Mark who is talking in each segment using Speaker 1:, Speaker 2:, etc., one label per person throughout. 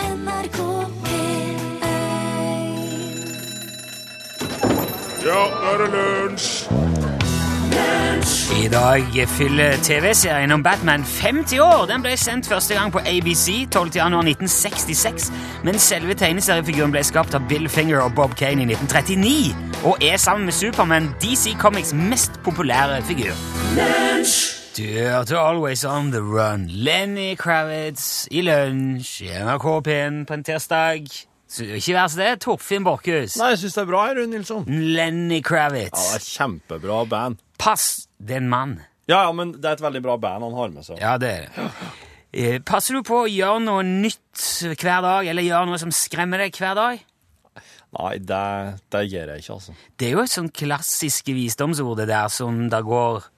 Speaker 1: NRK P1
Speaker 2: Ja, nå er det lunsj!
Speaker 3: I dag fyller TV-serien om Batman 50 år. Den ble sendt første gang på ABC 12.1.1966, men selve tegneseriefiguren ble skapt av Bill Finger og Bob Kane i 1939, og er sammen med Superman DC Comics mest populære figur. Du hørte Always On The Run. Lenny Kravitz i lunsj i NRK P1 på en tirsdag. Så Ikke verst det, Torfinn Borkhus.
Speaker 4: Nei, jeg syns det er bra, Rune Nilsson.
Speaker 3: Lenny
Speaker 4: Ja, det er
Speaker 3: Kravitz.
Speaker 4: Kjempebra band.
Speaker 3: Pass, det er en mann.
Speaker 4: Ja, ja, men det er et veldig bra band han har med seg.
Speaker 3: Ja, det er det. Eh, Passer du på å gjøre noe nytt hver dag, eller gjøre noe som skremmer deg hver dag?
Speaker 4: Nei, det, det gjør jeg ikke, altså.
Speaker 3: Det er jo et sånn klassisk visdomsord det der som det går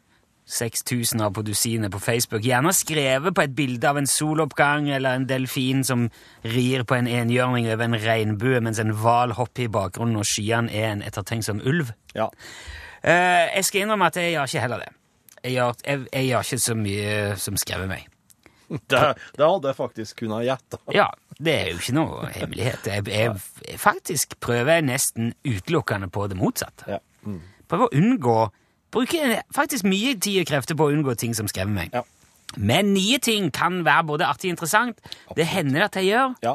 Speaker 3: 6000 av på dusinet på Facebook. Gjerne skrevet på et bilde av en soloppgang eller en delfin som rir på en enhjørning over en regnbue mens en hval hopper i bakgrunnen og skyene er en ettertenksom ulv.
Speaker 4: Ja.
Speaker 3: Eh, jeg skal innrømme at jeg gjør ikke heller det. Jeg gjør, jeg, jeg gjør ikke så mye som skremmer meg.
Speaker 4: Det, det hadde jeg faktisk kunnet gjette.
Speaker 3: Ja, det er jo ikke noe hemmelighet. Jeg, jeg, jeg faktisk prøver jeg nesten utelukkende på det motsatte.
Speaker 4: Ja. Mm.
Speaker 3: Prøver å unngå Bruker faktisk mye tid og krefter på å unngå ting som skremmer meg.
Speaker 4: Ja.
Speaker 3: Men nye ting kan være både artig og interessant. Det hender at jeg gjør,
Speaker 4: ja.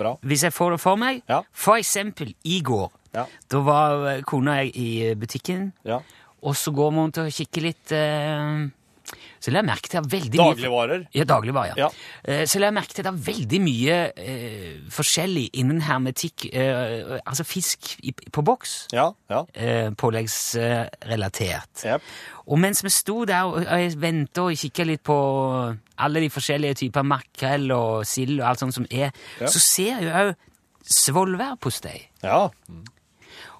Speaker 4: Bra.
Speaker 3: hvis jeg får det for meg.
Speaker 4: Ja.
Speaker 3: For eksempel i går.
Speaker 4: Ja.
Speaker 3: Da var eh, kona og jeg i butikken,
Speaker 4: Ja.
Speaker 3: og så går vi rundt og kikker litt eh, Så la jeg merke til at veldig mye-
Speaker 4: Dagligvarer.
Speaker 3: ja, dagligvarer. Ja.
Speaker 4: Ja.
Speaker 3: Eh, Så la jeg merke til det er veldig mye eh, forskjellig innen hermetikk. Eh, altså fisk i, på boks.
Speaker 4: Ja. Ja.
Speaker 3: Eh, Påleggsrelatert.
Speaker 4: Jep.
Speaker 3: Og mens vi sto der og og jeg venta og kikka litt på alle de forskjellige typer makrell og sild og alt sånt som er,
Speaker 4: Ja.
Speaker 3: så ser jeg òg svolværpostei.
Speaker 4: ja.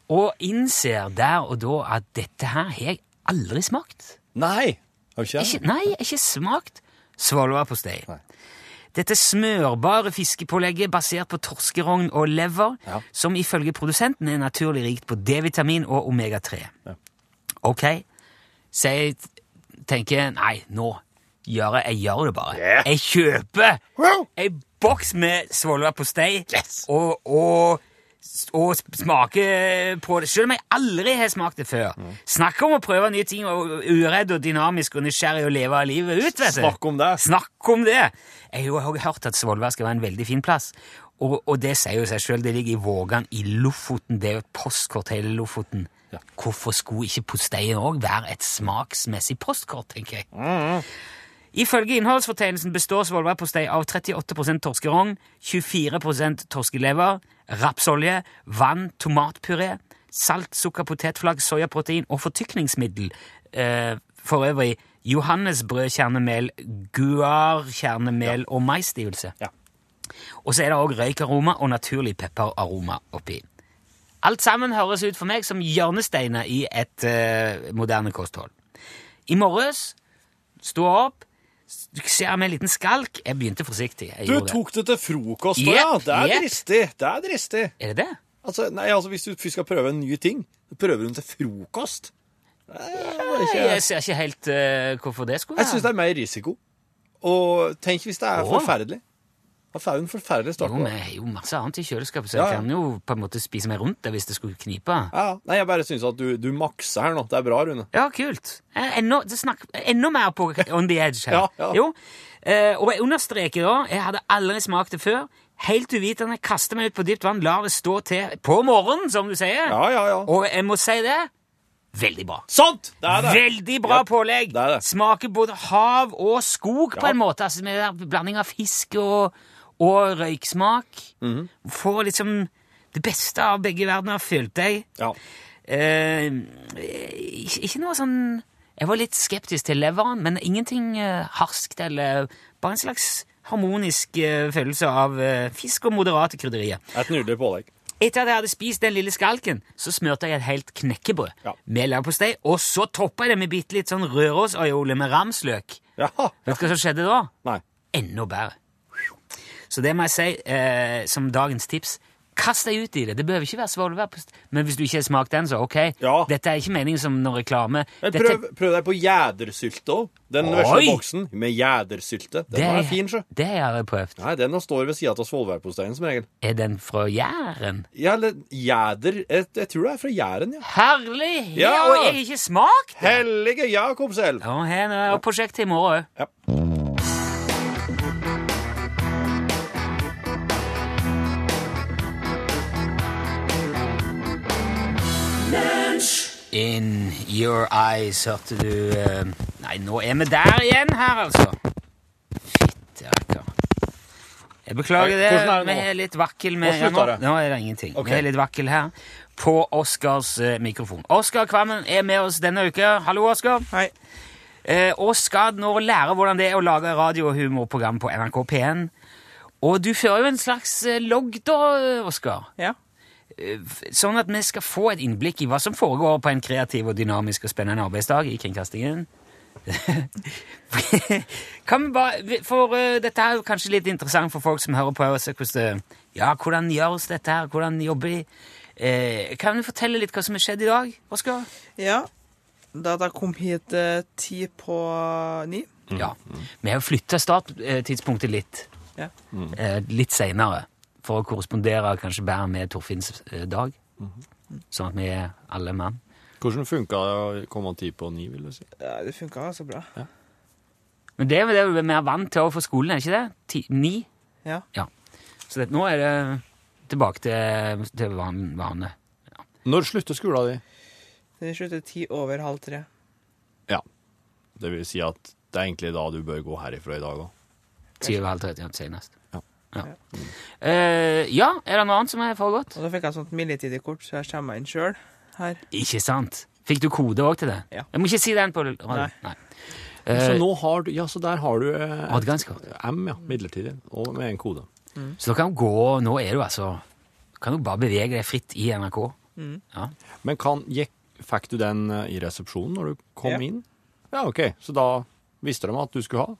Speaker 3: Og innser der og da at dette her har jeg aldri smakt.
Speaker 4: Nei! Har du ikke
Speaker 3: Ikke,
Speaker 4: det?
Speaker 3: nei, jeg har ikke smakt svolværpostei.
Speaker 4: Nei.
Speaker 3: Dette smørbare fiskepålegget basert på torskerogn og lever,
Speaker 4: Ja.
Speaker 3: som ifølge produsenten er naturlig rikt på D-vitamin og omega-3.
Speaker 4: Ja.
Speaker 3: Ok, så jeg tenker, nei, nå gjør jeg, jeg gjør det bare.
Speaker 4: Ja.
Speaker 3: Jeg kjøper
Speaker 4: Wow!
Speaker 3: en boks med svolværpostei og, og, og smaker på det, selv om jeg aldri har smakt det før.
Speaker 4: Mm.
Speaker 3: Snakk om å prøve nye ting, og uredd og dynamisk og nysgjerrig og leve livet ut, vet du.
Speaker 4: Snakk om det.
Speaker 3: Snakk om det! Jeg har jo også hørt at Svolvær skal være en veldig fin plass. Og, og det sier jo seg sjøl. Det ligger i Vågan, i Lofoten. Det er jo et postkort hele Lofoten.
Speaker 4: Ja.
Speaker 3: Hvorfor skulle ikke posteien òg være et smaksmessig postkort, tenker jeg. Ifølge innholdsfortegnelsen består svolværpostei av 38 torskerogn, 24 torskelever, rapsolje, vann, tomatpuré, salt, sukker, potetflagg, soyaprotein og fortykningsmiddel. Eh, for øvrig johannesbrødkjernemel, guarkjernemel og maisstivelse.
Speaker 4: Ja.
Speaker 3: Og så er det òg røykaroma og naturlig pepperaroma oppi. Alt sammen høres ut for meg som hjørnesteiner i et eh, moderne kosthold. I morges sto jeg opp, ser med en liten skalk. Jeg begynte forsiktig. Jeg
Speaker 4: Du
Speaker 3: gjorde det.
Speaker 4: tok det til frokost,
Speaker 3: Jepp,
Speaker 4: ja! Det er
Speaker 3: jepp.
Speaker 4: dristig. Det er dristig.
Speaker 3: Er det det?
Speaker 4: Altså, nei, altså, hvis du først skal prøve en ny ting, så prøver du den til frokost. Det er ikke...
Speaker 3: Jeg ser ikke helt eh, hvorfor det skulle
Speaker 4: Jeg syns
Speaker 3: være.
Speaker 4: det er mer risiko. Og tenk hvis det er
Speaker 3: Åh.
Speaker 4: forferdelig. Da får jo en forferdelig start.
Speaker 3: Jo,
Speaker 4: på
Speaker 3: men
Speaker 4: det.
Speaker 3: jeg har jo masse annet i kjøleskapet, så
Speaker 4: Ja,
Speaker 3: jeg
Speaker 4: ja.
Speaker 3: kan jo på en måte spise meg rundt det hvis det skulle knipe.
Speaker 4: Ja, ja. Nei, jeg bare syns at du, du makser her nå. Det er bra, Rune.
Speaker 3: Ja, kult. Eh, Enda, det snakk, enda mer på on the edge her.
Speaker 4: Ja, ja.
Speaker 3: Jo. Eh, og jeg understreker da, jeg hadde aldri smakt det før. Helt uvitende, kaster meg ut på dypt vann, lar det stå til på morgenen, som du sier.
Speaker 4: Ja, ja, ja.
Speaker 3: Og jeg må si det veldig bra.
Speaker 4: Sant! Det er det.
Speaker 3: Veldig bra
Speaker 4: Ja,
Speaker 3: pålegg!
Speaker 4: det er det.
Speaker 3: Smaker både hav og skog på
Speaker 4: Ja.
Speaker 3: en måte. Altså med der blanding av fisk og, og røyksmak.
Speaker 4: Mhm.
Speaker 3: Får liksom det beste av begge verdener, følte jeg.
Speaker 4: Ja.
Speaker 3: Eh, ikke, ikke noe sånn Jeg var litt skeptisk til leveren, men ingenting eh, harskt eller Bare en slags harmonisk eh, følelse av eh, fisk og moderate krydderier.
Speaker 4: Et nydelig pålegg.
Speaker 3: Etter at jeg hadde spist den lille skalken, så smørte jeg et helt knekkebrød
Speaker 4: Ja.
Speaker 3: med leverpostei, og så toppa jeg det med bitte litt sånn rørosaiole med ramsløk.
Speaker 4: Ja.
Speaker 3: Vet du hva som skjedde da?
Speaker 4: Nei.
Speaker 3: Enda bedre. Så det må jeg si eh, som dagens tips. Kast deg ut i det. Det behøver ikke være svolvær. Men hvis du ikke har smakt den, så ok.
Speaker 4: Ja.
Speaker 3: Dette er ikke meningen som noen reklame.
Speaker 4: Men
Speaker 3: Dette-
Speaker 4: prøv, prøv deg på gjædersylte òg. Den
Speaker 3: Oi!
Speaker 4: vesle boksen med gjædersylte. Den var fin, sjø.
Speaker 3: Det har jeg prøvd.
Speaker 4: Nei, den står ved sida av svolværposteien som regel.
Speaker 3: Er den fra Jæren?
Speaker 4: Ja, eller gjæder jeg, jeg tror det er fra Jæren, ja.
Speaker 3: Herlig!
Speaker 4: Ja!
Speaker 3: Og jeg har ikke smakt den!
Speaker 4: Hellige Jakobselv!
Speaker 3: Ja, her er prosjektet i morgen òg.
Speaker 4: Ja.
Speaker 3: In your eyes, hørte du eh, Nei, nå er vi der igjen her, altså. Fytti rakker. Jeg beklager det.
Speaker 4: Hvordan er det
Speaker 3: Vi
Speaker 4: nå?
Speaker 3: har litt vakkel
Speaker 4: Nå
Speaker 3: med
Speaker 4: slutter
Speaker 3: ja,
Speaker 4: det.
Speaker 3: nå, nå er det ingenting.
Speaker 4: Ok.
Speaker 3: Vi har litt vakkel her på Oskars eh, mikrofon. Oskar Kvammen er med oss denne uka. Hallo, Oskar.
Speaker 1: Hei.
Speaker 3: Eh, og skal nå lære hvordan det er å lage radio- og humorprogram på NRK P1. Og du fører jo en slags eh, logg da, eh, Oskar.
Speaker 1: Ja.
Speaker 3: Sånn at vi skal få et innblikk i hva som foregår på en kreativ og dynamisk og spennende arbeidsdag i kringkastingen. kan vi bare, for eh, Dette er jo kanskje litt interessant for folk som hører på. Også, hvordan, det- ja, hvordan gjøres dette her? Hvordan jobber de? Eh, kan du fortelle litt hva som har skjedd i dag, Oskar?
Speaker 1: ja. Da jeg kom hit eh, ti på ni.
Speaker 3: Ja. Vi har jo flytta starttidspunktet litt.
Speaker 1: Ja.
Speaker 3: eh, litt seinere. For å korrespondere kanskje bedre med Torfinns eh, dag. Sånn at vi er alle mann.
Speaker 4: Hvordan funka det å komme ti på ni, vil du si?
Speaker 1: Ja, det funka altså bra.
Speaker 3: Men det er jo det vi er mer vant til overfor skolen, er det ikke det? Ti, ni?
Speaker 1: Ja.
Speaker 3: Så det, nå er det tilbake til, til van, vane.
Speaker 4: Når slutter skolen din?
Speaker 1: Den slutter ti over halv tre.
Speaker 4: Det vil si at det er egentlig da du bør gå herifra i dag òg.
Speaker 3: Ti over halv tre ja, senest.
Speaker 4: Ja.
Speaker 3: Ja. Eh, ja, er det noe annet som har foregått?
Speaker 1: Og da fikk jeg et sånt midlertidig kort, så jeg kommer meg inn sjøl her.
Speaker 3: Ikke sant? Fikk du kode òg til det?
Speaker 1: Ja.
Speaker 3: Jeg må ikke si den på radio.
Speaker 1: Nei.
Speaker 4: Så
Speaker 3: Eh,
Speaker 4: nå har du Ja, så der har du eh,
Speaker 3: Adgangskort.
Speaker 4: M, ja. Midlertidig. Og med en kode.
Speaker 3: Så da kan du gå Nå er du altså Kan du bare bevege deg fritt i NRK. Ja.
Speaker 4: Men kan, gikk, fikk du den eh, i resepsjonen når du kom
Speaker 1: Ja.
Speaker 4: inn? Ja, OK. Så da visste de at du skulle ha.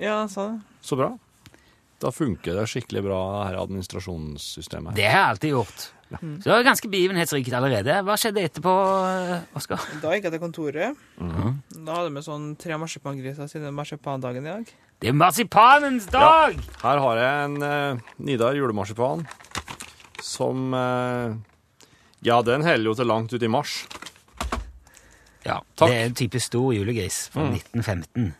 Speaker 1: Ja, han sa det.
Speaker 4: Så bra. Da funker det skikkelig bra, det her administrasjonssystemet. her.
Speaker 3: Det har jeg alltid gjort. Mm. Så det var ganske begivenhetsrikt allerede. Hva skjedde etterpå, eh, Oskar?
Speaker 1: Da gikk jeg til kontoret. Da hadde vi sånn tre marsipangriser siden marsipandagen i dag.
Speaker 3: Det er marsipanens dag!
Speaker 4: Her har jeg en eh, Nidar julemarsipan som eh, Ja, den heller jo til langt ut i mars.
Speaker 3: Ja,
Speaker 4: Takk. Mm.
Speaker 3: Det er en type stor julegris fra 1915.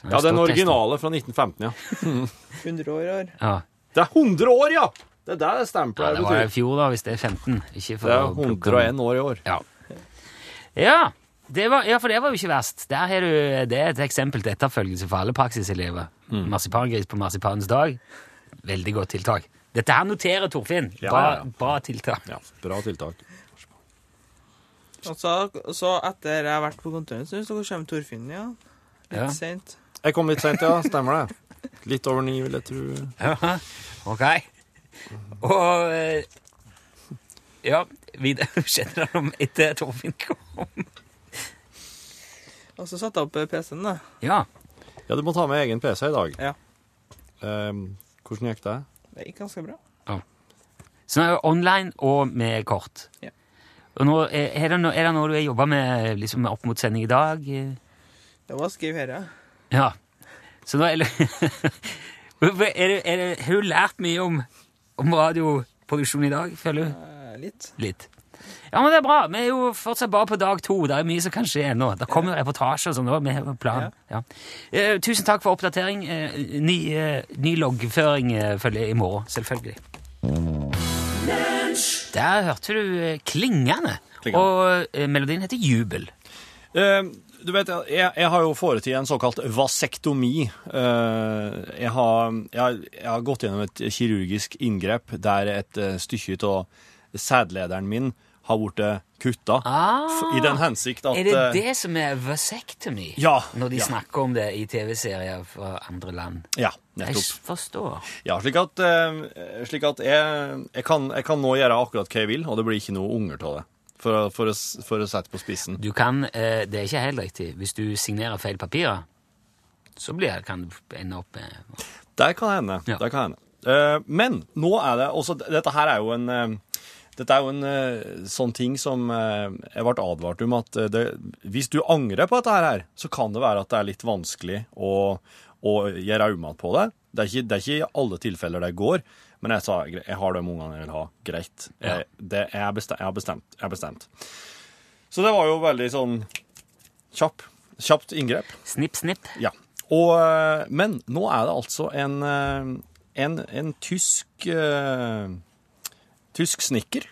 Speaker 3: Så
Speaker 4: Ja, den
Speaker 3: har stått
Speaker 4: originale fra 1915, ja.
Speaker 1: 100 år i år.
Speaker 3: nesten- Ja.
Speaker 4: Det er 100 år, ja! Det er det
Speaker 3: ja,
Speaker 4: stempelet
Speaker 3: det var i
Speaker 4: betyr.
Speaker 3: fjor, da, hvis det er 15. Ikke for
Speaker 4: Det
Speaker 3: å
Speaker 4: er
Speaker 3: plukke-
Speaker 4: 101 år i år.
Speaker 3: Ja. Ja, det var, ja, for det var jo ikke verst. Der har du, det er et eksempel til etterfølgelse for alle praksiselever.
Speaker 4: Mm.
Speaker 3: Marsipangris på marsipanens dag. Veldig godt tiltak. Dette her noterer Torfinn.
Speaker 4: Ja,
Speaker 3: bra,
Speaker 4: ja, ja.
Speaker 3: bra tiltak.
Speaker 4: Ja, Bra tiltak.
Speaker 1: Og så, så etter jeg har vært på kontoret en stund, så kommer Torfinn, ja. Litt
Speaker 3: Ja.
Speaker 1: sent.
Speaker 4: Jeg kom litt seint, ja. Stemmer det. Litt over ni, vil jeg tro.
Speaker 3: Ok. Og eh, Ja, videre skjedde det noe etter Torfinn kom.
Speaker 1: Og så satte jeg opp eh, PC-en, da.
Speaker 3: Ja.
Speaker 4: Ja, du må ta med egen PC i dag.
Speaker 1: Ja.
Speaker 4: Ehm, hvordan gikk det?
Speaker 1: Det gikk ganske bra.
Speaker 3: Så nå er det online og med kort.
Speaker 1: Ja.
Speaker 3: Og nå, er, er, det noe, er det noe du har jobba med liksom, opp mot sending i dag?
Speaker 1: Det var skriv her, ja.
Speaker 3: Ja. Så nå er det, er det, er det Har du lært mye om, om radioproduksjon i dag, føler du?
Speaker 1: Eh, Litt.
Speaker 3: Litt. Ja, men det er bra. Vi er jo fortsatt bare på dag to. Det er mye som kan skje ennå. Det kommer jo reportasjer og sånn òg. Vi har jo en plan. Ja. Eh, tusen takk for oppdatering. Eh, ny, eh, ny loggføring eh, følger i morgen, selvfølgelig. Der hørte du eh, Klingende.
Speaker 4: Klingende.
Speaker 3: Og eh, melodien heter Jubel.
Speaker 4: Ehm, du vet, jeg, jeg har jo foretatt en såkalt vasektomi. Ehm, jeg, har, jeg, har- jeg har gått gjennom et kirurgisk inngrep der et eh, stykke av sædlederen min har blitt kutta.
Speaker 3: Ah.
Speaker 4: I den hensikt at
Speaker 3: Er det
Speaker 4: eh,
Speaker 3: det som er vasectomy?
Speaker 4: Ja,
Speaker 3: Når de
Speaker 4: ja.
Speaker 3: snakker om det i TV-serier fra andre land?
Speaker 4: Ja,
Speaker 3: Jeg
Speaker 4: nettopp.
Speaker 3: forstår.
Speaker 4: Ja, slik at, eh, slik at jeg, jeg, kan, jeg kan nå gjøre akkurat hva jeg vil, og det blir ikke noe unger av det. For, å- for, å, s- for å sette på spissen.
Speaker 3: Du kan, eh, Det er ikke helt riktig. Hvis du signerer feil papirer, så blir, kan du ende opp med
Speaker 4: Der kan hende.
Speaker 3: Ja.
Speaker 4: Der kan hende. Eh, Men nå er det også Dette her er jo en eh, dette er jo en eh, sånn ting som eh, jeg ble advart om, at eh, det, hvis du angrer på dette her, så kan det være at det er litt vanskelig å, å gjøre øynene på det. Det er, ikke, det er ikke i alle tilfeller det går, men jeg sa "Gre- jeg har de ungene jeg vil ha. Greit. Jeg, det, jeg, har bestemt, jeg har bestemt. Jeg har bestemt. Så det var jo veldig sånn kjapp, kjapt inngrep.
Speaker 3: Snipp, snipp.
Speaker 4: Ja. Og, eh, men nå er det altså en, eh, en, en tysk eh, tysk snekker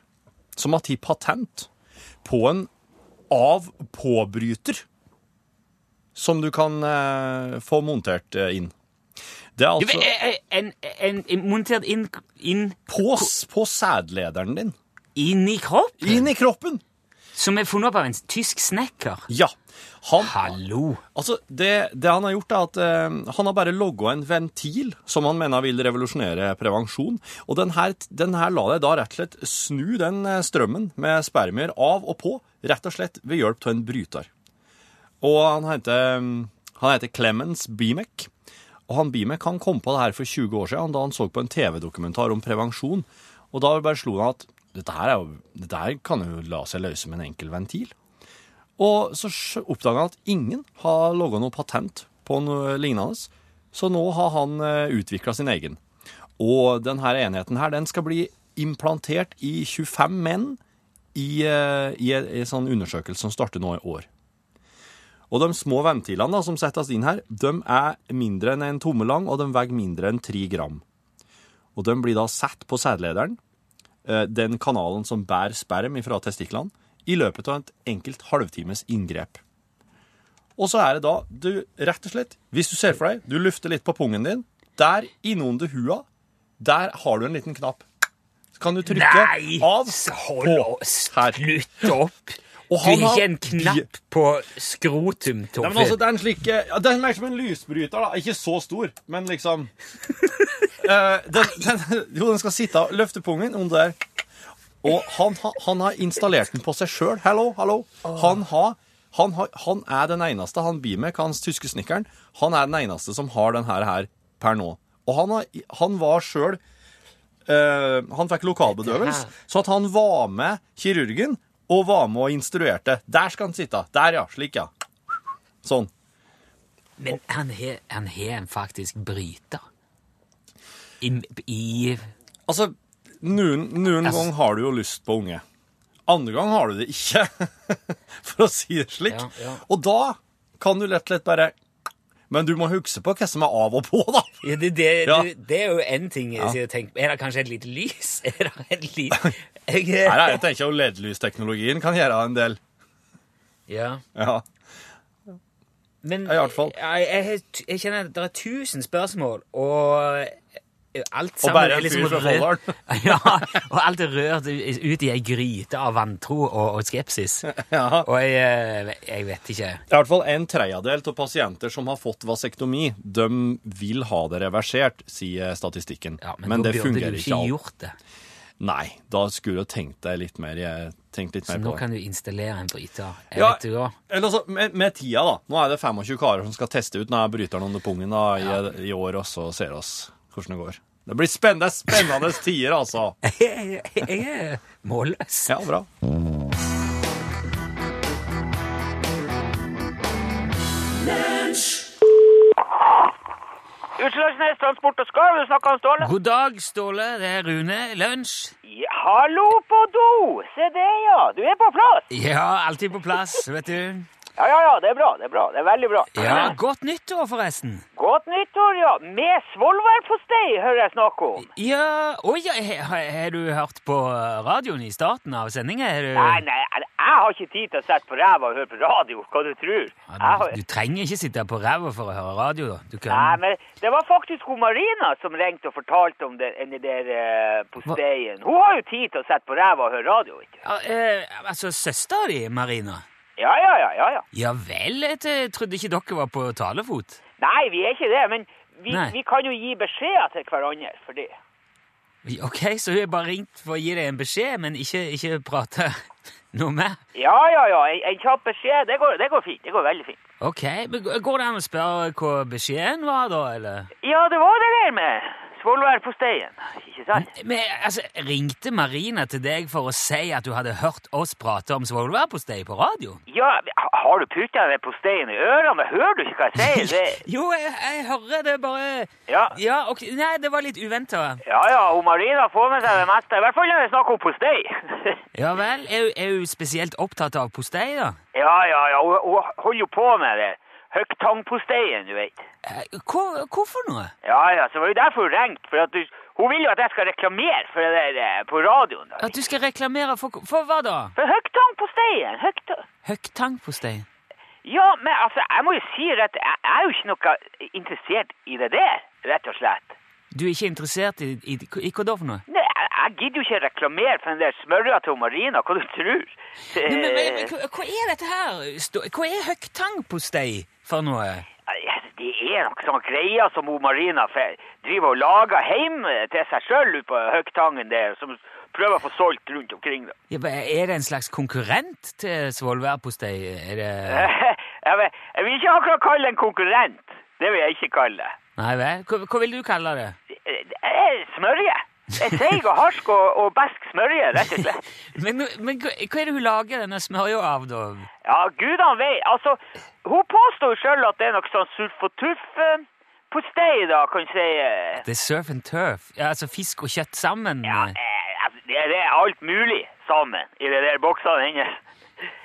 Speaker 4: som har tatt patent på en av-påbryter som du kan eh, få montert eh, inn. Det er
Speaker 3: Du,
Speaker 4: altså
Speaker 3: eh, eh, en, en, en montert inn, inn,
Speaker 4: på, s- på sædlederen din.
Speaker 3: inn i kropp,
Speaker 4: Inn i kroppen!
Speaker 3: som er funnet opp av en tysk snekker.
Speaker 4: Ja. Han,
Speaker 3: Hallo.
Speaker 4: Altså, det, det han har gjort er at eh, han har bare logget en ventil som han mener vil revolusjonere prevensjon, og den her, den her la deg da rett og slett snu den eh, strømmen med spermier av og på, rett og slett ved hjelp til en bryter. Og han heter, mm, han heter Clemens Bimek, og han Bimek han kom på det her for 20 år siden da han så på en TV-dokumentar om prevensjon, og da bare slo han at dette her, er jo, dette her kan jo la seg løse med en enkel ventil. Og så sj- oppdaga han at ingen har logga noe patent på noe lignende. Så nå har han utvikla sin egen. Og denne enheten her, den skal bli implantert i 25 menn i, eh, i en en sånn undersøkelse som starter nå i år. Og de små ventilene da, som settes inn her, de er mindre enn en tomme lang, og de veier mindre enn 3 gram. Og de blir da satt på sædlederen, eh, den kanalen som bærer sperm fra testiklene, i løpet av et enkelt halvtimes inngrep. Og så er det da du rett og slett Hvis du ser for deg, du lufter litt på pungen din. Der innunder hua, der har du en liten knapp. Så kan du trykke
Speaker 3: Nei!
Speaker 4: av
Speaker 3: Hold
Speaker 4: på.
Speaker 3: opp.
Speaker 4: Her.
Speaker 3: Slutt opp.
Speaker 4: Og
Speaker 3: Du er
Speaker 4: han har-
Speaker 3: ikke en knapp på skrotum,
Speaker 4: Nei, men altså,
Speaker 3: Torfinn.
Speaker 4: det er en slik eh, ja, Det er mer som en lysbryter, da. Ikke så stor, men liksom Eh, den, den, Jo, den skal sitte og løfte pungen om der. Og han, har- han har installert den på seg sjøl. Hallo, hallo. Han har han, har, han er den eneste, han Bimek, hans tyske snekkeren, han er den eneste som har den her, her per nå. Og han, har, han var sjøl eh, Han fikk lokalbedøvelse,
Speaker 3: Dette her.
Speaker 4: så at han var med kirurgen og var med og instruerte. Der skal han sitte. Der, ja. Slik, ja. Sånn.
Speaker 3: Men han har han har en faktisk bryter. I, i
Speaker 4: Altså, noen, noen
Speaker 3: Jeg s-
Speaker 4: gang har du jo lyst på unge. Andre gang har du det ikke, for å si det slik.
Speaker 3: Ja, ja.
Speaker 4: Og da kan du lett og slett bare Men du må huske på hva som er av og på, da.
Speaker 3: Ja, det, det,
Speaker 4: Ja.
Speaker 3: Det, det er jo én ting jeg sier og tenker Er det kanskje et lite lys? Er det et li... Jeg,
Speaker 4: Her er, jeg tenker jo LED-lysteknologien kan gjøre en del.
Speaker 3: ja.
Speaker 4: Ja.
Speaker 3: Men
Speaker 4: Ja, i hvert fall.
Speaker 3: Jeg, jeg, har- jeg kjenner at det er tusen spørsmål, og eh, alt sammen
Speaker 4: bare en
Speaker 3: er liksom
Speaker 4: fyr fra
Speaker 3: rørt- ja, og alt er rørt ut i ei gryte av vantro og, og skepsis.
Speaker 4: ja.
Speaker 3: Og jeg, eh, jeg vet ikke
Speaker 4: I hvert fall en tredjedel av pasienter som har fått vasektomi, de vil ha det reversert, sier statistikken.
Speaker 3: ja,
Speaker 4: men
Speaker 3: Men, da
Speaker 4: det
Speaker 3: burde
Speaker 4: fungerer
Speaker 3: du
Speaker 4: ikke
Speaker 3: ikke
Speaker 4: alt.
Speaker 3: gjort det.
Speaker 4: Nei, da skulle du tenkt deg litt mer, jeg tenkte litt
Speaker 3: Så
Speaker 4: mer
Speaker 3: nå
Speaker 4: på det.
Speaker 3: kan du installere en bryter. Jeg
Speaker 4: Ja.
Speaker 3: vet du hva.
Speaker 4: Eller altså, med, med tida, da. Nå er det 25 karer som skal teste ut denne bryteren under pungen da, i, i år, og så ser oss hvordan det går. Det blir spennende, spennende tider, altså.
Speaker 3: Jeg, jeg er målløs.
Speaker 4: Ja, bra.
Speaker 2: Utslagsnes Transport og Skarv, du snakker om Ståle?
Speaker 3: God dag, Ståle. Det er Rune. Lunsj.
Speaker 2: Ja, hallo på do! Se det, ja. Du er på plass.
Speaker 3: Ja, alltid på plass, vet du.
Speaker 2: Ja, ja, ja, det er bra. Det er bra. Det er veldig bra.
Speaker 3: Ja, Godt nyttår, forresten.
Speaker 2: Godt nyttår, ja. Med svolværpostei, hører jeg snakk om.
Speaker 3: Ja Oi, ja, he- he- har du hørt på radioen i starten av sendinga? Har du
Speaker 2: Nei, nei, jeg jeg har ikke tid til å sette på ræva og høre på radio, hva du tror. Jeg
Speaker 3: Ja,
Speaker 2: har...
Speaker 3: du, du trenger ikke sitte på ræva for å høre radio, da. Du kan
Speaker 2: Nei, men det var faktisk hun Marina som ringte og fortalte om det, den der eh, posteien. Hun har jo tid til å sette på ræva og høre radio, ikke?
Speaker 3: ja, eh, Altså, søstera di, Marina?
Speaker 2: Ja, ja, ja, ja, ja.
Speaker 3: Ja vel, jeg t- trodde ikke dere var på talefot.
Speaker 2: Nei, vi er ikke det, men vi,
Speaker 3: Nei.
Speaker 2: vi kan jo gi beskjeder til hverandre for det.
Speaker 3: Ok, så hun har bare ringt for å gi deg en beskjed, men ikke, ikke prate noe mer?
Speaker 2: Ja, ja, ja. En, en kjapp beskjed. Det går, det går fint. Det går veldig fint.
Speaker 3: Ok, men g- Går det an å spørre hva beskjeden var, da? eller?
Speaker 2: Ja, det var det der med Svolværposteien. Ikke sant?
Speaker 3: Men altså, Ringte Marina til deg for å si at du hadde hørt oss prate om svolværpostei på radio?
Speaker 2: Ja, ha- har du putta den posteien i ørene? Hører du ikke hva jeg sier? Det,
Speaker 3: Jo, jeg, jeg hører det bare
Speaker 2: ja.
Speaker 3: Ja, ok. Nei, det var litt uventa.
Speaker 2: ja ja, hun Marina får med seg det meste. I hvert fall når det er snakk om postei.
Speaker 3: Ja vel. Er, hun- er hun spesielt opptatt av postei, da?
Speaker 2: ja ja ja, hun, hun holder jo på med det. Høgtangposteien, du vet.
Speaker 3: Eh, Hvor, hvorfor noe?
Speaker 2: Ja ja, så var det jo derfor hun ringte. For at du, hun vil jo at jeg skal reklamere for det der eh, på radioen. da.
Speaker 3: At du skal reklamere for For hva da?
Speaker 2: For høgtangposteien! Høgtang...
Speaker 3: Høgtangpostei?
Speaker 2: Ja, men altså, jeg må jo si at jeg jeg er jo ikke noe interessert i det der, rett og slett.
Speaker 3: Du er ikke interessert i, i, i hva da for noe?
Speaker 2: Nei, jeg, jeg gidder jo ikke reklamere for den der smørja til Marina, hva du tror. Eh.
Speaker 3: Men, men, men, men hva- hva er dette her? Stå- Hva er høgtangpostei for noe?
Speaker 2: Eh, Det er noen sånne greier som hun Marina fe- driver og lager hjemme til seg sjøl ute på Høgtangen der, som prøver å få solgt rundt omkring. Da.
Speaker 3: Ja, men Er det en slags konkurrent til svolværpostei? Er det
Speaker 2: Jeg, vet, jeg vil ikke akkurat kalle det en konkurrent. Det vil jeg ikke kalle det.
Speaker 3: Nei vel? Hva, hva vil du kalle det?
Speaker 2: Eh, det er Smørje. En Seig og harsk og, og besk smørje, rett og slett.
Speaker 3: Men, men hva, hva er det hun lager denne smørja av, da?
Speaker 2: Ja, gud han vei. Altså, hun påstår jo selv at det er noe sånn surf og tuff eh, på steg, da, kan du si. eh.
Speaker 3: Det er surf and turf? Ja, altså fisk og kjøtt sammen?
Speaker 2: Ja, eh, altså, det det er alt mulig sammen i de der boksene hennes.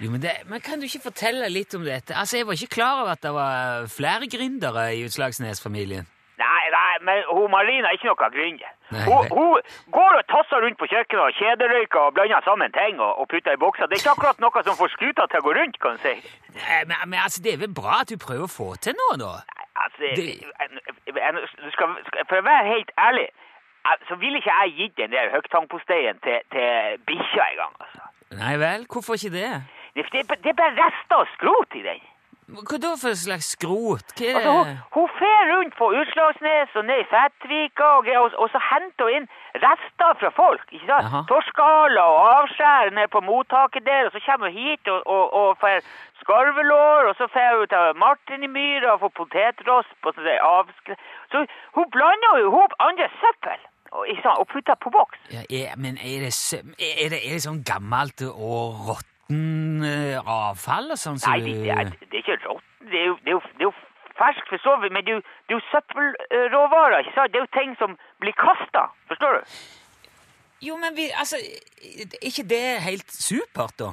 Speaker 3: Jo, men, det, men Kan du ikke fortelle litt om dette? Altså, Jeg var ikke klar over at det var flere gründere i Utslagsnes-familien.
Speaker 2: Nei, nei, men hun Marina er ikke noe gründer.
Speaker 3: Nei,
Speaker 2: Hun,
Speaker 3: nei.
Speaker 2: hun går og tasser rundt på kjøkkenet og kjederøyker og blander sammen ting og, og putter i bokser. Det er ikke akkurat noe som får skuta til å gå rundt, kan du si.
Speaker 3: Nei, Men, men altså, det er vel bra at du prøver å få til noe, da?
Speaker 2: Altså,
Speaker 3: Det-
Speaker 2: jeg- jeg- du skal, skal- for å være helt ærlig, jeg- så ville ikke jeg gitt den der høgtangposteien til, til bikkja engang. Altså.
Speaker 3: Nei vel? Hvorfor ikke det?
Speaker 2: Det, det, det er bare rester og skrot i den.
Speaker 3: Hva da for slags skrot? Hva er
Speaker 2: Altså, hun, hun fer rundt på Utslagsnes og ned i Fettvika og, greier, og, og så henter hun inn rester fra folk. ikke sant?
Speaker 3: Jaha.
Speaker 2: Torskaler og avskjær ned på mottaket der, og så kommer hun hit og, og, og får skarvelår, og så fer hun til Martin i Myra og får potetrosp og sånn der avskre... Så hun blander jo ihop andre søppel og, ikke sant, og putter på boks.
Speaker 3: Ja, er, men er det, sø- er, det, er det sånn gammelt og råtten eh, avfall og sånn? som
Speaker 2: Nei, det, det, er,
Speaker 3: du-
Speaker 2: det er ikke rått. Det er jo, det er jo, det er jo ferskt for så vidt, men det er jo, det er jo søppelråvarer, ikke sant? Det er jo ting som blir kasta, forstår du?
Speaker 3: Jo, men vi, altså, er ikke det helt supert, da?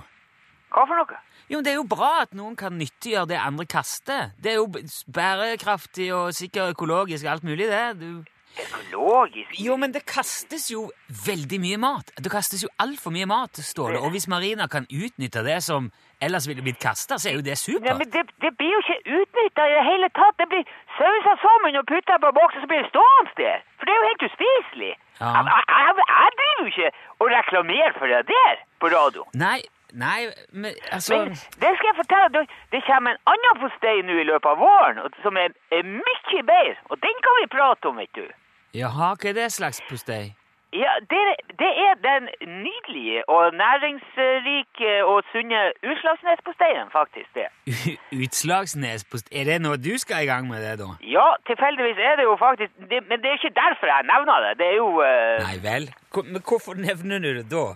Speaker 2: Hva for noe?
Speaker 3: Jo, men Det er jo bra at noen kan nyttiggjøre det andre kaster. Det er jo b- bærekraftig og sikkert økologisk alt mulig, det. Du...
Speaker 2: Økologisk?
Speaker 3: Jo, men det kastes jo veldig mye mat. Det kastes jo altfor mye mat, Ståle. Og hvis Marina kan utnytte det som ellers ville blitt kasta, så er jo det
Speaker 2: Nei, men
Speaker 3: supert.
Speaker 2: det, det blir jo ikke utnytta i det hele tatt. Det blir sausa sammen og putta på boks, og så blir det stående der. For det er jo helt uspiselig.
Speaker 3: Ja.
Speaker 2: Jeg, jeg, jeg, jeg driver jo ikke og reklamerer for det der på radio.
Speaker 3: Nei, nei, men altså
Speaker 2: Men det skal jeg fortelle deg, det kommer en annen postei nå i løpet av våren og- som er, er mye bedre, og den kan vi prate om, vet du.
Speaker 3: Jaha, hva er det slags postei?
Speaker 2: Ja, det, det er den nydelige og næringsrike og sunne Utslagsnesposteien, faktisk, det.
Speaker 3: U- Utslagsnespostei Er det noe du skal i gang med, det, da?
Speaker 2: Ja, tilfeldigvis er det jo faktisk det, Men det er ikke derfor jeg nevner det. Det er jo eh,
Speaker 3: Nei vel? Hvor- Men hvorfor nevner du det da?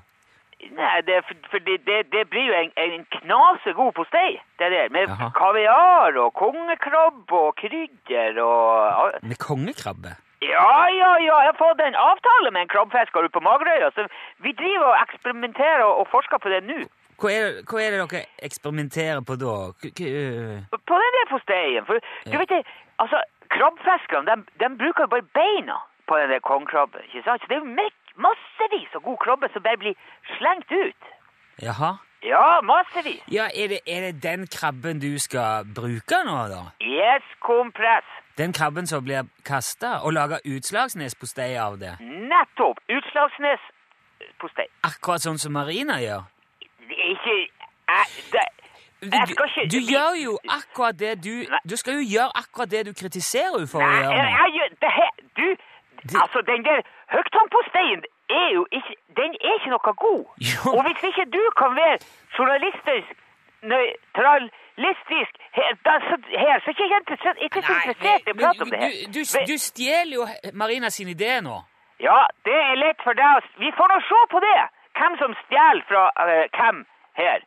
Speaker 2: Nei, det, er for, for det, det, det blir jo en, en knasegod postei, det der. Med
Speaker 3: Jaha.
Speaker 2: kaviar og kongekrabbe og krydder og
Speaker 3: Med kongekrabbe?
Speaker 2: Ja, ja, ja, jeg har fått en avtale med en krabbefisker ute på Magerøya, så vi driver og eksperimenterer og, og forsker på det nå.
Speaker 3: Hva er, hva er det dere eksperimenterer på da? K k øh,
Speaker 2: På den der posteien. For du vet det, altså, krabbefiskerne, de, de bruker jo bare beina på den der kongekrabben, ikke sant? Så det er jo mek- massevis av god krabbe som bare blir slengt ut.
Speaker 3: jaha?
Speaker 2: Ja, massevis.
Speaker 3: Ja, er det, er det den krabben du skal bruke nå, da?
Speaker 2: Yes, kompress.
Speaker 3: Den krabben som blir kasta, og lager utslagsnespostei av det?
Speaker 2: Nettopp. Utslagsnes postei.
Speaker 3: Akkurat sånn som Marina gjør?
Speaker 2: Det er ikke... Jeg, det,
Speaker 3: Du,
Speaker 2: jeg skal ikke...
Speaker 3: du gjør jo akkurat det du
Speaker 2: Nei.
Speaker 3: Du skal jo gjøre akkurat det du kritiserer henne for å
Speaker 2: Nei,
Speaker 3: gjøre.
Speaker 2: jeg,
Speaker 3: nå.
Speaker 2: jeg, gjør- det her, du,
Speaker 3: Det-
Speaker 2: altså den der høgtangposteien er jo ikke, den er ikke noe god.
Speaker 3: Jo.
Speaker 2: Og hvis ikke du kan være journalistisk nøytral Lesbisk Her, da, så, her så er ikke jeg interessert, ikke så interessert i å prate om det her.
Speaker 3: du, du, du stjeler jo he- Marina sin idé nå.
Speaker 2: Ja, det er lett for deg å s- Vi får nå se på det! Hvem som stjeler fra eh, hvem her,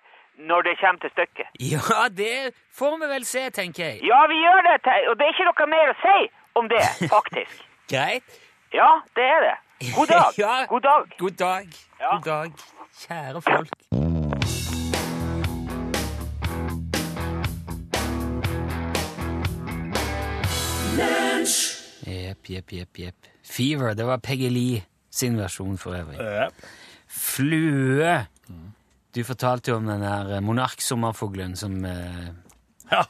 Speaker 2: når det kommer til stykket.
Speaker 3: Ja, det får vi vel se, tenker jeg.
Speaker 2: Ja, vi gjør det, Tei, og det er ikke noe mer å si om det, faktisk.
Speaker 3: Greit.
Speaker 2: Ja, det er det. God dag.
Speaker 3: Ja.
Speaker 2: God dag.
Speaker 3: God dag.
Speaker 2: Ja.
Speaker 3: God dag, kjære folk. Jepp, jepp, jepp, jepp. Fever, det var Peggy Lee sin versjon for øvrig. Flue. Du fortalte jo om den der monarksommerfuglen som, eh,
Speaker 4: Ja.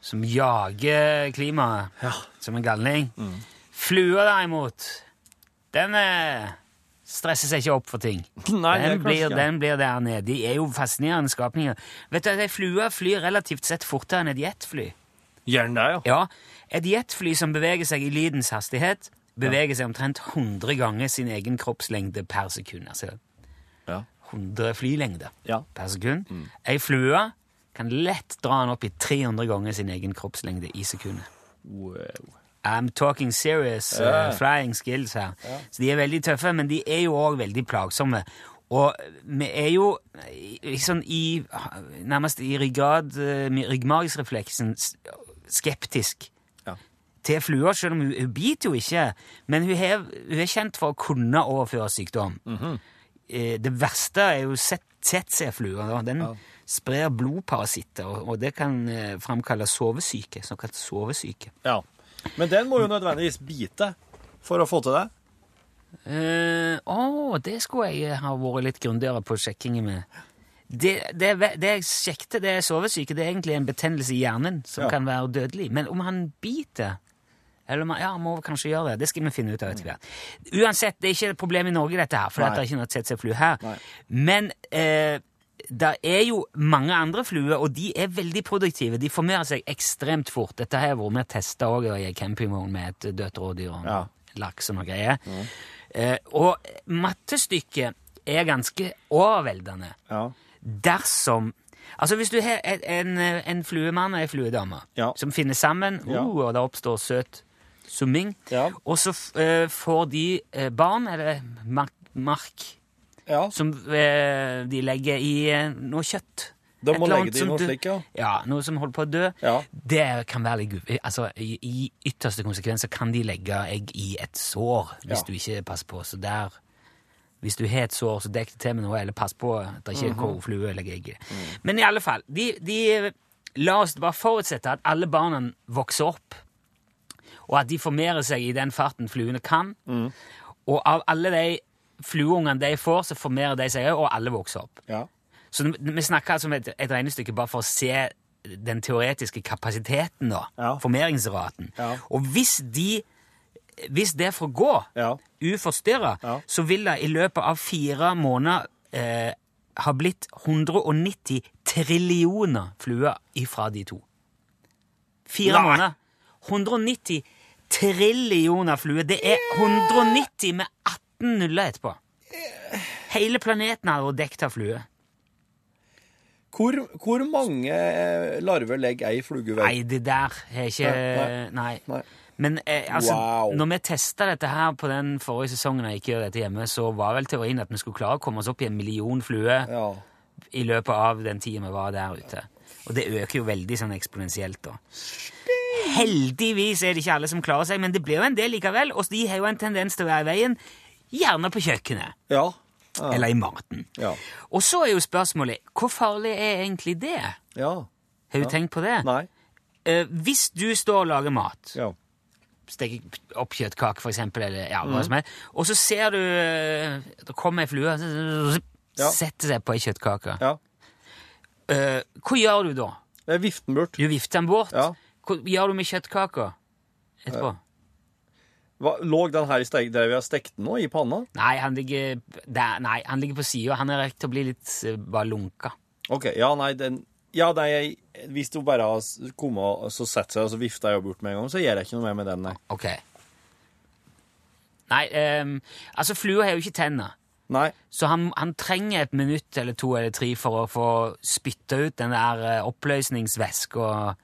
Speaker 3: som jager klimaet som en galning.
Speaker 4: Mm.
Speaker 3: Flua, derimot, den eh, stresser seg ikke opp for ting.
Speaker 4: Nei, det er
Speaker 3: den, blir,
Speaker 4: kanskje ikke.
Speaker 3: den blir der nede. De er jo fascinerende skapninger. Vet du at ei flue flyr relativt sett fortere enn et jetfly?
Speaker 4: Gjør den det, ja?
Speaker 3: Ja, et jetfly som beveger seg i lydens hastighet, beveger seg omtrent 100 ganger sin egen kroppslengde per sekund. Altså
Speaker 4: Ja.
Speaker 3: 100 flylengder
Speaker 4: Ja. Mm.
Speaker 3: per sekund. Ei flue kan lett dra den opp i 300 ganger sin egen kroppslengde i sekundet.
Speaker 4: Wow.
Speaker 3: I'm talking serious eh, flying skills her. Så de er veldig tøffe, men de er jo òg veldig plagsomme. Og vi er jo i- i sånn i Nærmest i ryggrad, eh, med ryggmargsrefleksen s- skeptisk
Speaker 4: Ja.
Speaker 3: til flua, selv om hun, hun biter jo ikke. Men hun, har, hun er kjent for å kunne overføre sykdom. Eh, Det verste er jo tsetse-flua. da. Den sprer blodparasitter, og, og det kan eh, framkalle sovesyke. Såkalt sovesyke.
Speaker 4: ja. Men den må jo nødvendigvis bite for å få til det.
Speaker 3: Eh, Å, det skulle jeg ha vært litt grundigere på sjekkingen med. Det, det, det jeg sjekket, det er sovesyke. Det er egentlig en betennelse i hjernen som
Speaker 4: Ja.
Speaker 3: kan være dødelig. Men om han biter eller om han, Ja, han må kanskje gjøre det. Det skal vi finne ut av etter hvert. Uansett, det er ikke et problem i Norge, dette her, for
Speaker 4: Nei.
Speaker 3: det er ikke noe tsetse-flu her.
Speaker 4: Nei.
Speaker 3: Men eh, det er jo mange andre fluer, og de er veldig produktive. De formerer seg ekstremt fort. Dette har jeg vært med og testa òg i en campingvogn med et dødt rådyr og en
Speaker 4: Ja.
Speaker 3: laks og noe greier. Eh, og mattestykket er ganske overveldende
Speaker 4: Ja.
Speaker 3: dersom Altså Hvis du har et- en, en fluemann og en fluedame
Speaker 4: Ja.
Speaker 3: som finner sammen,
Speaker 4: Ja.
Speaker 3: uh, og det oppstår søt summing,
Speaker 4: Ja.
Speaker 3: og så f- eh, får de eh, barn, eller mark, mark
Speaker 4: ja.
Speaker 3: som eh, de legger i eh, noe kjøtt.
Speaker 4: De
Speaker 3: Et
Speaker 4: må
Speaker 3: eller
Speaker 4: legge
Speaker 3: annet
Speaker 4: det i
Speaker 3: som
Speaker 4: noe
Speaker 3: du-
Speaker 4: slik, ja.
Speaker 3: Ja, noe som holder på å dø.
Speaker 4: Ja.
Speaker 3: Det kan være litt gu- altså, i, I ytterste konsekvens så kan de legge egg i et sår, hvis
Speaker 4: Ja.
Speaker 3: du ikke passer på. Så der Hvis du har et sår, så dekk det til med noe, eller pass på at det
Speaker 4: Mhm.
Speaker 3: ikke er korflue eller egg i det. Men i alle fall, de, de La oss bare forutsette at alle barna vokser opp, og at de formerer seg i den farten fluene kan.
Speaker 4: Mhm.
Speaker 3: Og av alle de flueungene de får, så formerer de seg òg, og alle vokser opp.
Speaker 4: ja.
Speaker 3: Så n- vi snakker altså om et, et regnestykke bare for å se den teoretiske kapasiteten, da.
Speaker 4: Ja.
Speaker 3: Formeringsraten.
Speaker 4: Ja.
Speaker 3: Og hvis de Hvis det får gå
Speaker 4: Ja.
Speaker 3: uforstyrra,
Speaker 4: Ja.
Speaker 3: så vil det i løpet av fire måneder eh, ha blitt 190 trillioner fluer ifra de to. Fire
Speaker 4: Nei.
Speaker 3: måneder. 190 trillioner fluer. Det er 190 med 18 nuller etterpå. Hele planeten har vært dekket av fluer.
Speaker 4: Hvor, hvor mange eh, larver legger ei flugevei?
Speaker 3: Nei, det der er ikke
Speaker 4: Nei,
Speaker 3: Nei.
Speaker 4: Nei.
Speaker 3: Men eh, altså,
Speaker 4: Wow.
Speaker 3: når vi testa dette her på den forrige sesongen, og jeg ikke gjør dette hjemme, så var vel teorien at vi skulle klare å komme oss opp i en million fluer
Speaker 4: Ja.
Speaker 3: i løpet av den tida vi var der ute. Og det øker jo veldig sånn eksponentielt, da. Heldigvis er det ikke alle som klarer seg, men det blir jo en del likevel, og de har jo en tendens til å være i veien, gjerne på kjøkkenet
Speaker 4: Ja.
Speaker 3: eller i maten.
Speaker 4: Ja.
Speaker 3: Og så er jo spørsmålet hvor farlig er egentlig det?
Speaker 4: Ja.
Speaker 3: Har du tenkt på det?
Speaker 4: Nei.
Speaker 3: Eh, hvis du står og lager mat
Speaker 4: Ja.
Speaker 3: steke opp kjøttkake, for eksempel, eller ja,
Speaker 4: Mhm.
Speaker 3: hva som helst. Og så ser du eh, Det kommer ei flue, så-
Speaker 4: Ja.
Speaker 3: setter seg på ei kjøttkake.
Speaker 4: Ja.
Speaker 3: Eh, hva gjør du da?
Speaker 4: Det er viften bort.
Speaker 3: Du vifter den bort.
Speaker 4: Ja.
Speaker 3: Hva gjør du med kjøttkaka etterpå?
Speaker 4: Hva, lå den her i steik, der vi har stekt den nå, i panna?
Speaker 3: Nei, han ligger, der, nei, han ligger på sida. Han er rett til å bli litt eh, bare lunka.
Speaker 4: OK. Ja, nei, den ja, nei, jeg, Hvis hun bare har s- kommet og så satt seg og så vifta jeg bort med en gang, så gjør jeg ikke noe mer med den, nei.
Speaker 3: Ok. Nei, ehm, altså, flua eh, har jo ikke tenner.
Speaker 4: Nei.
Speaker 3: Så han, han trenger et minutt eller to eller tre for å få spytta ut den der eh, oppløsningsvæska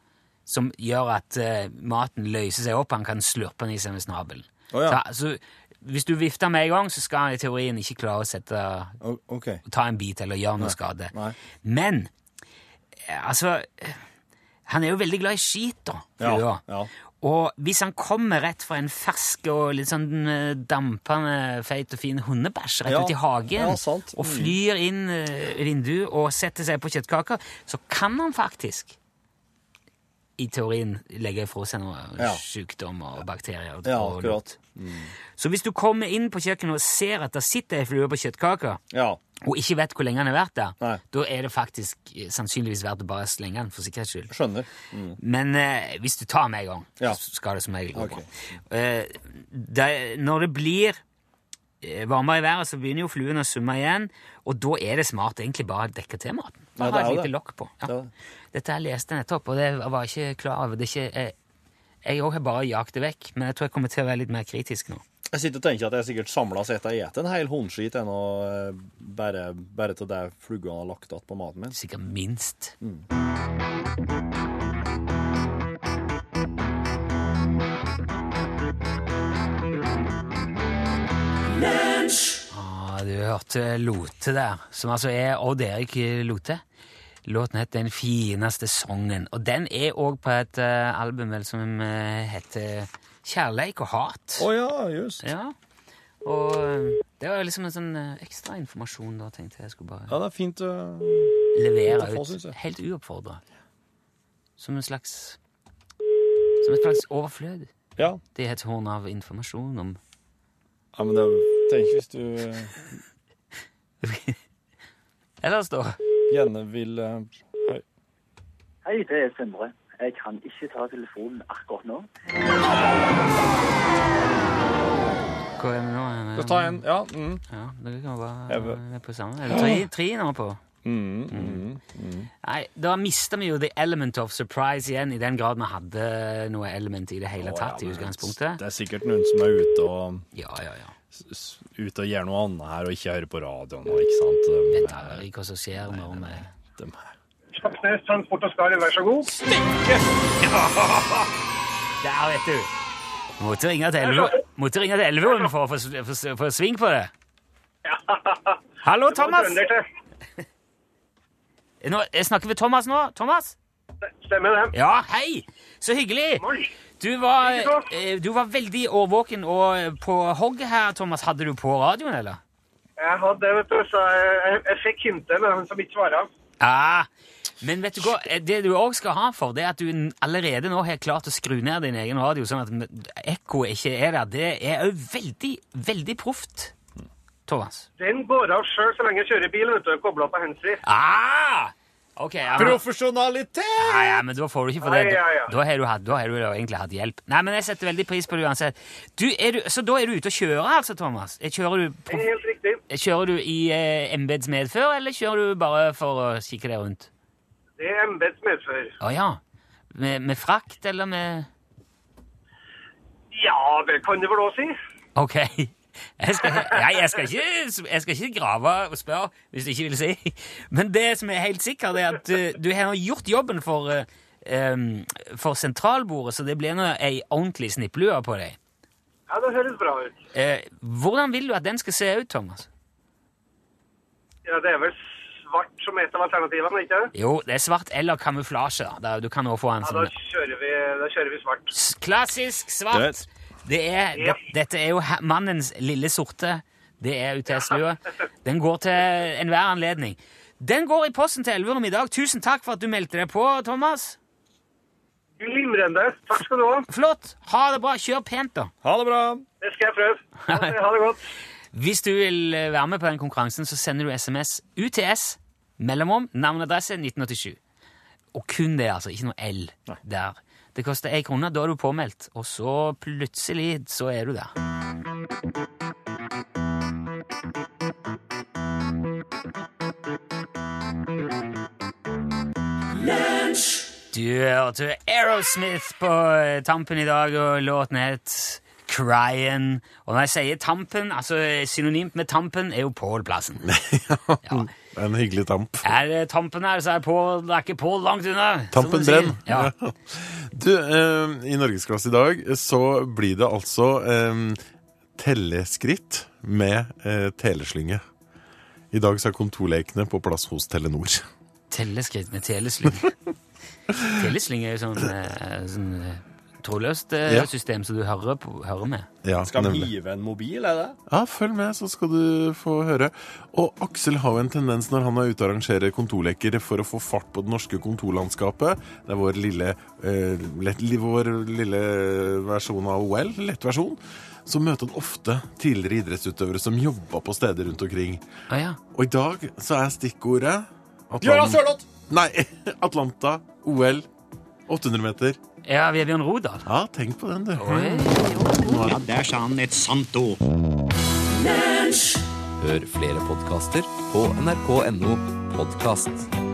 Speaker 3: som gjør at eh, maten løser seg opp. Han kan slurpe den i seg med snabelen.
Speaker 4: Å ja.
Speaker 3: så, så hvis du vifter med en gang, så skal han i teorien ikke klare å sette,
Speaker 4: O- OK.
Speaker 3: ta en bit eller gjøre noe skade.
Speaker 4: Nei.
Speaker 3: Men eh, altså eh, Han er jo veldig glad i skit, da.
Speaker 4: Ja,
Speaker 3: flua.
Speaker 4: ja.
Speaker 3: Og hvis han kommer rett fra en fersk og litt sånn eh, dampende, feit og fin hundebæsj rett
Speaker 4: Ja,
Speaker 3: ut i hagen,
Speaker 4: ja, sant.
Speaker 3: og
Speaker 4: Mm.
Speaker 3: flyr inn eh, vinduet og setter seg på kjøttkaker, så kan han faktisk i teorien legge fra seg noe
Speaker 4: Ja.
Speaker 3: sykdommer og bakterier. og-
Speaker 4: Ja,
Speaker 3: og-
Speaker 4: akkurat.
Speaker 3: Så hvis du kommer inn på kjøkkenet og ser at det sitter ei flue på kjøttkaka,
Speaker 4: Ja.
Speaker 3: og ikke vet hvor lenge han har vært der,
Speaker 4: Nei.
Speaker 3: da er det faktisk eh, sannsynligvis verdt å bare slenge den for sikkerhets skyld.
Speaker 4: Skjønner.
Speaker 3: Men eh, hvis du tar med en gang,
Speaker 4: Ja.
Speaker 3: så skal det som regel gå
Speaker 4: Ok.
Speaker 3: bra. Eh, det, når det blir eh, varmere i været, så begynner jo fluen å summe igjen, og da er det smart egentlig bare å dekke til maten.
Speaker 4: Ja,
Speaker 3: Bare
Speaker 4: det er
Speaker 3: ha et
Speaker 4: jo
Speaker 3: lite
Speaker 4: det.
Speaker 3: lokk på. Ja.
Speaker 4: Det er det.
Speaker 3: Dette her leste jeg nettopp, og det var jeg ikke klar over. Det er ikke, eh, jeg òg har bare jagt det vekk, men jeg tror jeg kommer til å være litt mer kritisk nå.
Speaker 4: Jeg sitter og tenker at jeg sikkert samla sett har spist en hel hundskit enn å eh, bare, bare til det flugga har lagt igjen på maten min.
Speaker 3: Sikkert minst. Ah, du hørte Lote der, som altså er Odd Erik Lote. Låten heter Den fineste sangen, og den er òg på et eh, album vel, som eh, heter Kjærleik og hat.
Speaker 4: Å ja, just.
Speaker 3: Ja. Og eh, det var liksom en sånn eh, ekstra informasjon da, tenkte jeg jeg skulle bare
Speaker 4: Ja, det er fint. eh,
Speaker 3: levere
Speaker 4: Interface, synes
Speaker 3: ut
Speaker 4: jeg.
Speaker 3: helt uoppfordra. Som en slags Som et slags overflød.
Speaker 4: Ja.
Speaker 3: Det er et horn av informasjon om
Speaker 4: ja, men det tenk hvis du eh,
Speaker 3: Ellers, da?
Speaker 4: gjerne vil eh, høy-
Speaker 5: Hei, det er Sindre. Jeg kan ikke ta telefonen akkurat nå.
Speaker 3: Hva er vi nå? Er
Speaker 4: Da
Speaker 3: vi-
Speaker 4: tar jeg en Ja. Mm.
Speaker 3: Ja, det kan
Speaker 4: Jeg
Speaker 3: bare
Speaker 4: vil-
Speaker 3: vi er på samme. Er det tre, tre nå på?
Speaker 4: Mm, mm.
Speaker 3: Nei, da mista vi jo the element of surprise igjen, i den grad vi hadde noe element i det hele tatt i utgangspunktet.
Speaker 4: Det er sikkert noen som er ute og,
Speaker 3: Ja, ja, ja.
Speaker 4: s- s- ute og gjør noe annet her, og ikke hører på radioen nå, ikke sant? De
Speaker 3: Vet
Speaker 4: er-
Speaker 3: aldri hva som skjer når vi
Speaker 4: de er-
Speaker 6: Sjaksnes Transport og Skarv, vær så god.
Speaker 3: Der, vet du! Måtte ringe til Elve- måtte ringe til Elverum for å få s- få s- få sving på det. Hallo, Thomas!
Speaker 6: Trønder til.
Speaker 3: Nå, jeg snakker vi Thomas nå? Thomas?
Speaker 6: Stemmer det.
Speaker 3: Ja, hei! Så hyggelig!
Speaker 6: Morgen.
Speaker 3: Du var,
Speaker 6: Ikke sant?
Speaker 3: eh, du var veldig årvåken og eh, på hogget her, Thomas. Hadde du på radioen, eller?
Speaker 6: Jeg hadde det, vet du, så jeg, jeg, jeg fikk hintet med den som ikke svarer.
Speaker 3: Ja. Men vet du hva, Eh, det du òg skal ha for, det er at du n- allerede nå har klart å skru ned din egen radio, sånn at m- ekkoet ikke er der. Det er òg veldig, veldig proft, Thomas.
Speaker 6: Den går av selv så lenge jeg kjører bil, vet du, koblet på handsfree.
Speaker 3: Ah! Ok, ja, men,
Speaker 4: Profesjonalitet!
Speaker 3: Nei, ja, men da får du ikke for det.
Speaker 6: Nei, ja, ja.
Speaker 3: Da, da har du, hatt, da har du jo egentlig hatt hjelp. Nei, men jeg setter veldig pris på det uansett. Du, er du, så da er du ute og kjører, altså, Thomas? Eh, Kjører du,
Speaker 6: Det
Speaker 3: prof-
Speaker 6: er helt riktig.
Speaker 3: kjører du i eh, embeds medfør, eller kjører du bare for å kikke deg rundt?
Speaker 6: Det er embeds medfør.
Speaker 3: Å ja. Med, med frakt, eller med
Speaker 6: Ja, det kan du vel også si.
Speaker 3: Ok. Jeg skal, nei, jeg skal, ikke, jeg skal ikke grave og spørre hvis du ikke vil si. Men det som er helt sikkert, er at eh, du har nå gjort jobben for, eh, em, for sentralbordet, så det blir nå ei ordentlig snipplue på deg.
Speaker 6: Ja, det høres bra ut.
Speaker 3: Eh, hvordan vil du at den skal se ut, Thomas?
Speaker 6: Ja, det er vel svart som et av alternativene, ikke det?
Speaker 3: Jo, det er svart eller kamuflasje. da. Da. Du kan også få en
Speaker 6: Ja, da
Speaker 3: sånn
Speaker 6: kjører vi, da kjører vi svart.
Speaker 3: S- klassisk svart.
Speaker 4: Dødt.
Speaker 3: Det er,
Speaker 6: Ja.
Speaker 3: det, dette er jo he- mannens lille sorte. Det er UTS-lua. Den går til enhver anledning. Den går i posten til Elverum i dag. Tusen takk for at du meldte deg på, Thomas.
Speaker 6: Glimrende. Takk skal du ha.
Speaker 3: Flott. Ha det bra. Kjør pent, da.
Speaker 4: Ha det bra!
Speaker 6: Det skal jeg prøve. Ha det- Ha det godt.
Speaker 3: Hvis du vil eh, være med på den konkurransen, så sender du SMS UTS mellomom navn og adresse 1987. Og kun det, altså. Ikke noe L der. Det koster ei krone, da er du påmeldt. Og så plutselig, så er du der. Du hørte Aerosmith på eh, tampen i dag, og låten het Cryen. Og når jeg sier Tampen, altså synonymt med Tampen, er jo Pål plassen. Ja.
Speaker 7: En hyggelig tamp.
Speaker 3: Er det Tampen her, så er, Pål, er ikke Pål langt unna. som
Speaker 7: Tampen
Speaker 3: de sier.
Speaker 7: brenn.
Speaker 3: Ja.
Speaker 7: Du, eh, i Norgesklasse i dag eh, så blir det altså eh, telleskritt med eh, teleslynge. I dag så er kontorlekene på plass hos Telenor.
Speaker 3: Telleskritt med teleslyng. teleslyng er jo sånn, eh, sånn eh, trådløst eh,
Speaker 7: Ja.
Speaker 3: system som du hører, på, hører med.
Speaker 7: Ja,
Speaker 4: Skal de
Speaker 7: nemlig.
Speaker 4: hive en mobil, er det?
Speaker 7: Ja, følg med, så skal du få høre. Og Aksel har jo en tendens når han er ute og arrangerer kontorleker for å få fart på det norske kontorlandskapet. Det er vår lille, eh, lett, li- vår lille versjon av OL, lettversjon. Så møter han ofte tidligere idrettsutøvere som jobber på steder rundt omkring.
Speaker 3: Å ja.
Speaker 7: Og i dag så er stikkordet Atlan-
Speaker 4: Gjøran Sørloth!
Speaker 7: Nei, Atlanta, OL, 800 meter.
Speaker 3: ja, Vebjørn Rodal.
Speaker 7: Ja, tenk på den, du.
Speaker 3: Oi.
Speaker 8: Ja, der sa han et sant ord.
Speaker 9: Hør flere podkaster på nrk.no podkast.